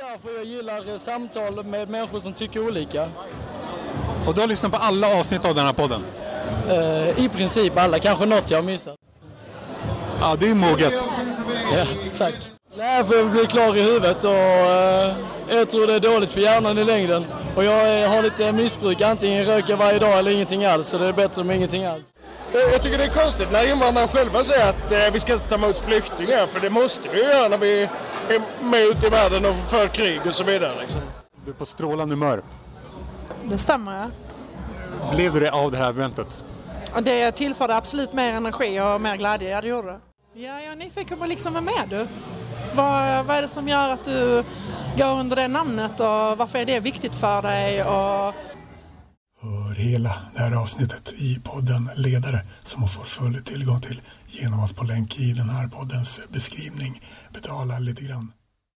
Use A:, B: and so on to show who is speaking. A: Ja, för jag gillar samtal med människor som tycker olika.
B: Och du har lyssnat på alla avsnitt av den här podden?
A: Eh, I princip alla, kanske något jag har missat.
B: Ja, det är moget.
A: Ja, tack. Nej, för jag blir klar i huvudet och eh, jag tror det är dåligt för hjärnan i längden. Och jag eh, har lite missbruk, antingen röker jag varje dag eller ingenting alls. Så det är bättre med ingenting alls.
C: Jag jag tycker det är konstigt när invandrarna själva säger att eh, vi ska ta emot flyktingar, för det måste vi göra när vi är med ute i världen och för krig och så vidare. Liksom.
B: Du är på strålande humör.
D: Det stämmer ja.
B: Blev du det av det här eventet?
D: Och det tillförde absolut mer energi och mer glädje, ja det gjorde det. Ja, jag är nyfiken på liksom, vem är du? Vad, vad är det som gör att du går under det namnet och varför är det viktigt för dig? Och
E: Hör hela det här avsnittet i podden Ledare som man får full tillgång till genom att på länk i den här poddens beskrivning betala lite grann.